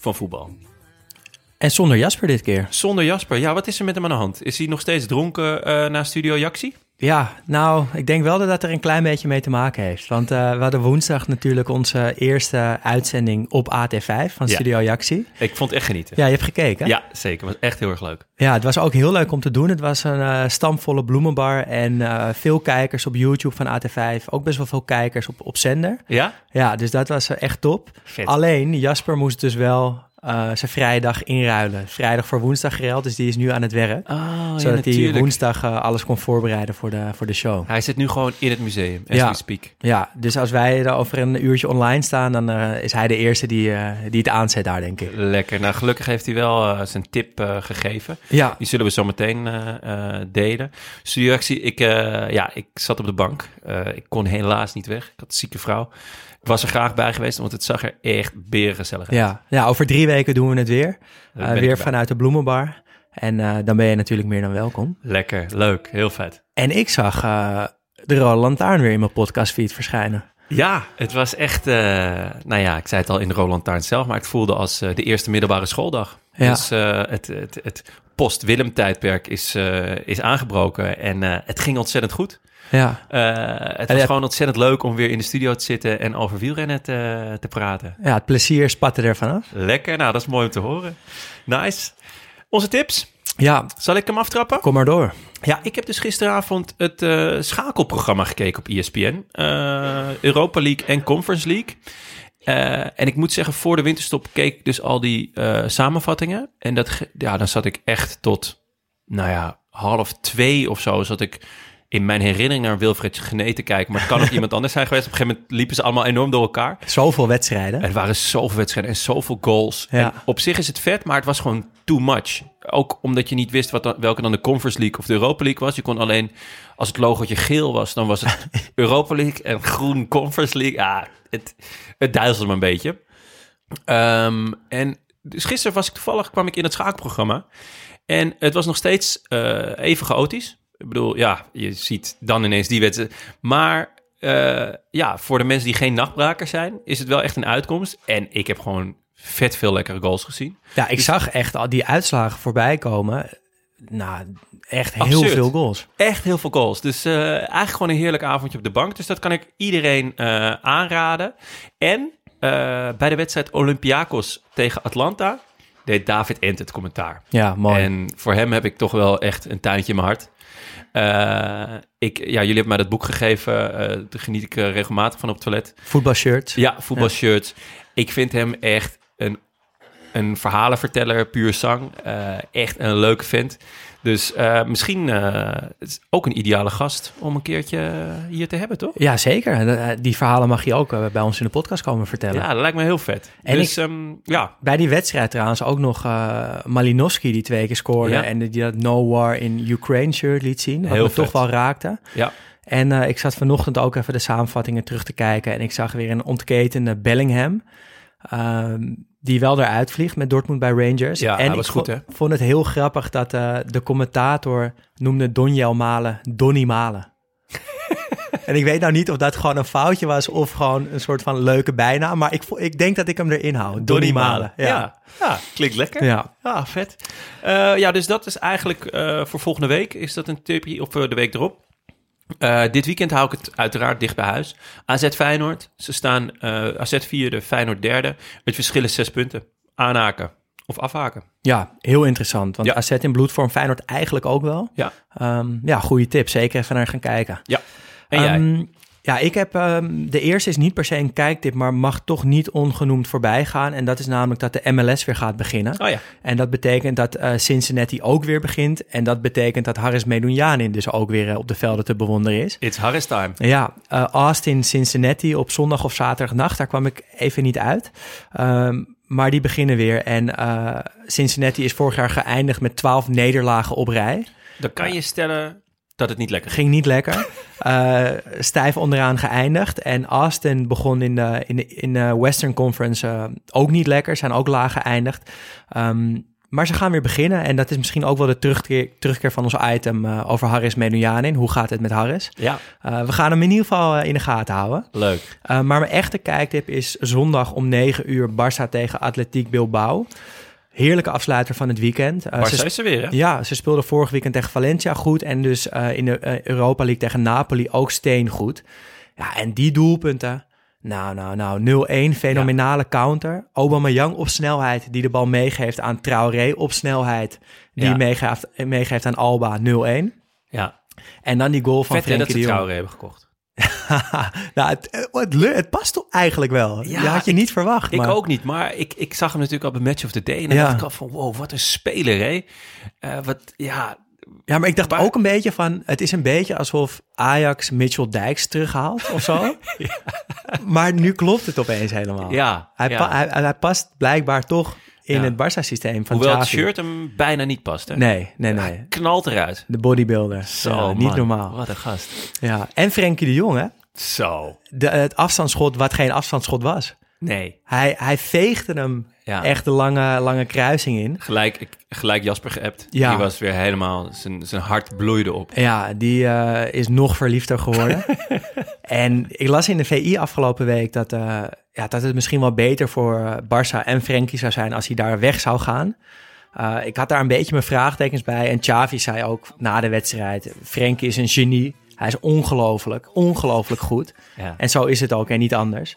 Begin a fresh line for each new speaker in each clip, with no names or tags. van voetbal.
En zonder Jasper dit keer.
Zonder Jasper, ja, wat is er met hem aan de hand? Is hij nog steeds dronken eh, na Studio Jaxi?
Ja, nou, ik denk wel dat dat er een klein beetje mee te maken heeft. Want eh, we hadden woensdag natuurlijk onze eerste uitzending op AT5 van
Ja.
Studio Jaxi.
Ik vond het echt genieten.
Ja, je hebt gekeken.
Ja, zeker. Was echt heel erg leuk.
Ja, het was ook heel leuk om te doen. Het was een eh, stamvolle bloemenbar en eh, veel kijkers op YouTube van AT5. Ook best wel veel kijkers op, op zender.
Ja?
Ja, dus dat was eh, echt top.
Vet.
Alleen, Jasper moest dus wel eh, zijn vrijdag inruilen. Vrijdag voor woensdag geruild, dus die is nu aan het werk. zodat hij woensdag eh, alles kon voorbereiden voor de, voor de show.
Hij zit nu gewoon in het museum, as
Ja.
we speak.
Ja, dus als wij er over een uurtje online staan, dan eh, is hij de eerste die, eh, die het aanzet daar, denk ik.
Lekker. Nou, gelukkig heeft hij wel eh, zijn tip eh, gegeven.
Ja,
Die zullen we zo meteen eh, eh, delen. Studioactie, ik, eh, ja, ik zat op de bank. Eh, ik kon helaas niet weg. Ik had een zieke vrouw. Ik was er graag bij geweest, want het zag er echt berengezellig uit.
ja. ja, over drie weken doen we het weer.
Daar
Eh,
ben ik
weer
erbij.
vanuit de bloemenbar. En eh, dan ben je natuurlijk meer dan welkom.
Lekker, leuk, heel vet.
En ik zag eh, de Rode Lantaarn weer in mijn podcastfeed verschijnen.
Ja, het was echt, eh, nou ja, ik zei het al in de Roland Taarn zelf, maar het voelde als eh, de eerste middelbare schooldag.
Ja.
Dus eh, het, het, het post-Willem-tijdperk is, eh, is aangebroken en eh, het ging ontzettend goed.
Ja,
Eh, het
En
was
ja-
gewoon ontzettend leuk om weer in de studio te zitten en over wielrennen te, te praten.
ja het plezier spatte er vanaf.
Lekker, nou dat is mooi om te horen. Nice. Onze tips,
Ja,
zal ik hem aftrappen?
kom maar door.
Ja, ik heb dus gisteravond het eh, schakelprogramma gekeken op E ESPN. Eh, Europa League en Conference League. Eh, en ik moet zeggen, voor de winterstop keek ik dus al die eh, samenvattingen. En dat, ge- ja, dan zat ik echt tot, nou ja, half twee of zo zat ik in mijn herinnering naar Wilfred Gené te kijken. Maar het kan ook iemand anders zijn geweest. Op een gegeven moment liepen ze allemaal enorm door elkaar.
Zoveel wedstrijden.
Er waren zoveel wedstrijden en zoveel goals.
Ja.
En op zich is het vet, maar het was gewoon too much. Ook omdat je niet wist wat dan- welke dan de Conference League of de Europa League was. Je kon alleen, als het logootje geel was, dan was het Europa League en groen Conference League. Ah, het, het duizelde me een beetje. Ehm, en dus gisteren was ik toevallig, kwam ik in het schaakprogramma. En het was nog steeds eh, even chaotisch. Ik bedoel, ja, je ziet dan ineens die wedstrijd. Maar eh, ja, voor de mensen die geen nachtbrakers zijn, is het wel echt een uitkomst. En ik heb gewoon vet veel lekkere goals gezien.
Ja, ik zag echt al die uitslagen voorbij komen. Nou, echt heel
Absurd.
veel goals.
Echt heel veel goals. Dus eh, eigenlijk gewoon een heerlijk avondje op de bank. Dus dat kan ik iedereen eh, aanraden. En eh, bij de wedstrijd Olympiakos tegen Atlanta deed David Ent het commentaar.
Ja, mooi.
En voor hem heb ik toch wel echt een tuintje in mijn hart. Eh, ik, ja, jullie hebben mij dat boek gegeven. eh, daar geniet ik eh, regelmatig van op het toilet.
Voetbalshirt.
Ja, voetbalshirts. Ik vind hem echt een, een verhalenverteller, puur zang. Eh, echt een leuke vent. Dus eh, misschien eh, het is ook een ideale gast om een keertje eh, hier te hebben, toch?
Ja, zeker. En, eh, Die verhalen mag je ook eh, bij ons in de podcast komen vertellen.
Ja, dat lijkt me heel vet.
En
dus ehm, ja,
Bij die wedstrijd trouwens ook nog eh Malinowski die twee keer scoorde.
Ja.
En die dat No War in Ukraine shirt liet zien. Wat
Heel
me
vet.
toch wel raakte.
ja.
En eh, ik zat vanochtend ook even de samenvattingen terug te kijken. En ik zag weer een ontketende Bellingham. ehm, die wel eruit vliegt met Dortmund bij Rangers.
Ja,
en
hij
ik
was goed,
vo-
hè?
vond het heel grappig dat eh, de commentator noemde Donjel Malen Donny Malen. en ik weet nou niet of dat gewoon een foutje was of gewoon een soort van leuke bijnaam. Maar ik, vo- ik denk dat ik hem erin hou. Donny, Malen.
Ja.
Ja.
Ja. klinkt lekker.
Ja.
Ah, vet. Eh, ja, dus dat is eigenlijk eh, voor volgende week. Is dat een tipje of eh, de week erop? Eh, dit weekend hou ik het uiteraard dicht bij huis. AZ Feyenoord. Ze staan eh, AZ vierde, Feyenoord derde. Het verschil is zes punten. Aanhaken of afhaken.
Ja, heel interessant. Want
Ja.
AZ in bloedvorm Feyenoord eigenlijk ook wel.
Ja.
Ehm, ja, goede tip. Zeker even naar gaan kijken.
Ja. En jij?
Ehm, ja, ik heb. ehm, de eerste is niet per se een kijktip, maar mag toch niet ongenoemd voorbij gaan. En dat is namelijk dat de MLS weer gaat beginnen.
Oh ja.
En dat betekent dat eh, Cincinnati ook weer begint. En dat betekent dat Harris Medunjanin dus ook weer eh, op de velden te bewonderen is.
It's Harris time.
Ja, eh, Austin, Cincinnati op zondag of zaterdagnacht. Daar kwam ik even niet uit. Ehm, Maar die beginnen weer. En eh, Cincinnati is vorig jaar geëindigd met 12 nederlagen op rij.
Dan kan je stellen dat het niet lekker ging.
Ging niet lekker. Eh, stijf onderaan geëindigd. En Austin begon in de, in de, in de Western Conference eh, ook niet lekker. Zijn ook laag geëindigd. Ehm, maar ze gaan weer beginnen. En dat is misschien ook wel de terugkeer, terugkeer van ons item eh, over Harris Menujanin. Hoe gaat het met Harris?
Ja,
Eh, we gaan hem in ieder geval eh, in de gaten houden.
leuk.
Eh, maar mijn echte kijktip is zondag om 9 uur Barça tegen Atletiek Bilbao. Heerlijke afsluiter van het weekend. Eh,
Maar
ze
zo is ze weer, hè?
ja, ze speelden vorig weekend tegen Valencia goed. En dus eh, in de eh, Europa League tegen Napoli ook steengoed. Ja, en die doelpunten. Nou, nou, nou. 0-1, fenomenale counter. Aubameyang op snelheid, die de bal meegeeft aan Traoré op snelheid. Die
Ja.
meegeeft, meegeeft aan Alba, 0-1.
Ja.
En dan die goal van
Vet hè, dat ze
Frenkie de Jong.
trouwen hebben gekocht.
nou, het, eh, het, le- het past toch eigenlijk wel.
Ja,
Je had je niet verwacht.
Ik
maar-
ook niet, maar ik, ik zag hem natuurlijk al bij Match of the Day. En dan
Ja.
dacht ik al van, wow, wat een speler, hè? Eh, wat, ja,
Ja, maar ik dacht
Maar-
ook een beetje van... Het is een beetje alsof Ajax Mitchell Dijks terughaalt of zo. Maar nu klopt het opeens helemaal.
ja.
Hij,
ja.
pa- hij, hij past blijkbaar toch in
Ja.
het Barça-systeem van
Hoewel het
Xavi.
shirt hem bijna niet past, hè?
Nee, nee, nee.
Knalt eruit.
De bodybuilder.
Zo,
Ja, niet
man.
normaal.
Wat een gast.
Ja. En Frenkie de Jong, hè?
Zo.
De, het afstandsschot wat geen afstandsschot was.
Nee.
Hij, hij veegde hem
Ja.
echt de lange, lange kruising in.
Gelijk, ik- gelijk Jasper geappt.
Ja.
Die was weer helemaal, zijn, zijn hart bloeide op.
Ja, die eh, is nog verliefder geworden. en ik las in de VI afgelopen week dat, eh, ja, dat het misschien wel beter voor eh, Barça en Frenkie zou zijn als hij daar weg zou gaan. Eh, ik had daar een beetje mijn vraagtekens bij. En Xavi zei ook na de wedstrijd: Frenkie is een genie. Hij is ongelooflijk, ongelooflijk goed.
Ja.
En zo is het ook en niet anders.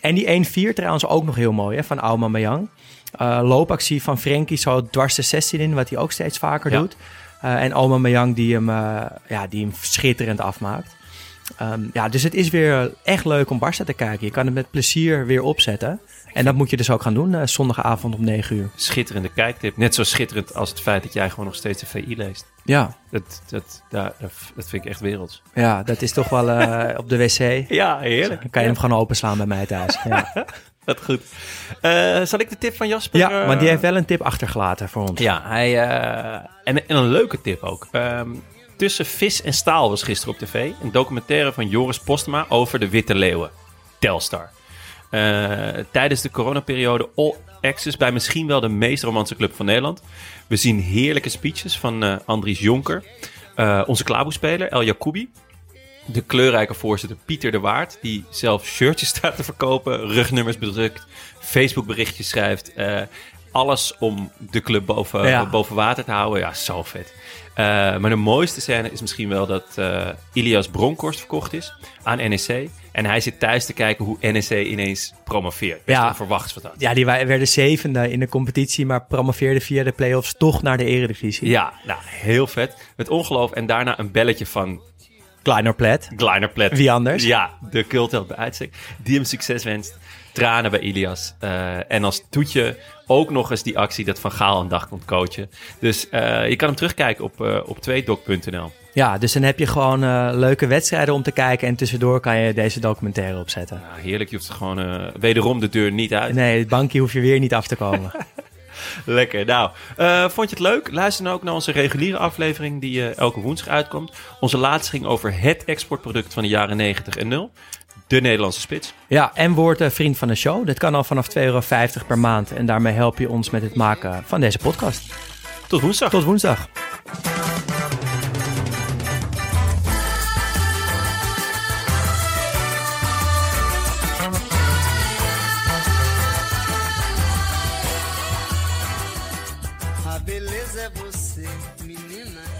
en die 1-4 trouwens ook nog heel mooi hè, van Aubameyang. Eh loopactie van Frenkie zo dwars de 16 in, wat hij ook steeds vaker
Ja.
doet. Eh, en Aubameyang die hem, eh, ja, die hem schitterend afmaakt. Ehm, ja, dus het is weer echt leuk om Barça te kijken. Je kan het met plezier weer opzetten. En dat moet je dus ook gaan doen eh, zondagavond om 9 uur.
Schitterende kijktip. Net zo schitterend als het feit dat jij gewoon nog steeds de VI leest.
Ja,
Dat, dat, daar, dat vind ik echt werelds.
ja dat is toch wel eh, op de wc.
Ja, heerlijk.
Dan kan je hem gewoon openslaan bij mij thuis. Ja,
Dat goed. Eh, zal ik de tip van Jasper?
ja
eh,
maar die heeft wel een tip achtergelaten voor ons.
Ja, hij, eh, en, en een leuke tip ook. Ehm, Tussen vis en staal was gisteren op tv een documentaire van Joris Postma over de witte leeuwen. Telstar. Eh, tijdens de coronaperiode all access bij misschien wel de meest romantische club van Nederland. We zien heerlijke speeches van eh, Andries Jonker, eh, onze klaboespeler El Jacoubi, de kleurrijke voorzitter Pieter de Waard, die zelf shirtjes staat te verkopen, rugnummers bedrukt, Facebook berichtjes schrijft. eh, alles om de club boven,
Ja.
boven water te houden. Ja, zo vet. Eh, maar de mooiste scène is misschien wel dat eh, Ilias Bronkhorst verkocht is aan NEC. En hij zit thuis te kijken hoe NEC ineens promoveert. Best
Ja.
onverwachts wat dat.
Ja, die wa- werden zevende in de competitie, maar promoveerden via de play-offs toch naar de eredivisie.
Ja, nou, heel vet. Met ongeloof en daarna een belletje van
Kleiner plet.
Kleiner Plet.
Wie anders?
Ja, de cultheld bij uitstek. Die hem succes wenst. Tranen bij Ilias. Eh, en als toetje ook nog eens die actie dat Van Gaal een dag komt coachen. Dus eh, je kan hem terugkijken op, eh op 2doc.nl.
Ja, dus dan heb je gewoon eh, leuke wedstrijden om te kijken en tussendoor kan je deze documentaire opzetten.
Nou, heerlijk, je hoeft er gewoon eh, wederom de deur niet uit.
Nee, het bankje hoef je weer niet af te komen.
Lekker. Nou, eh, vond je het leuk? Luister dan ook naar onze reguliere aflevering die eh, elke woensdag uitkomt. Onze laatste ging over het exportproduct van de jaren 90 en 0. De Nederlandse spits.
ja, en word eh, vriend van de show. Dat kan al vanaf 2,50 euro per maand en daarmee help je ons met het maken van deze podcast.
Tot woensdag.
Tot woensdag.
A beleza é você, menina.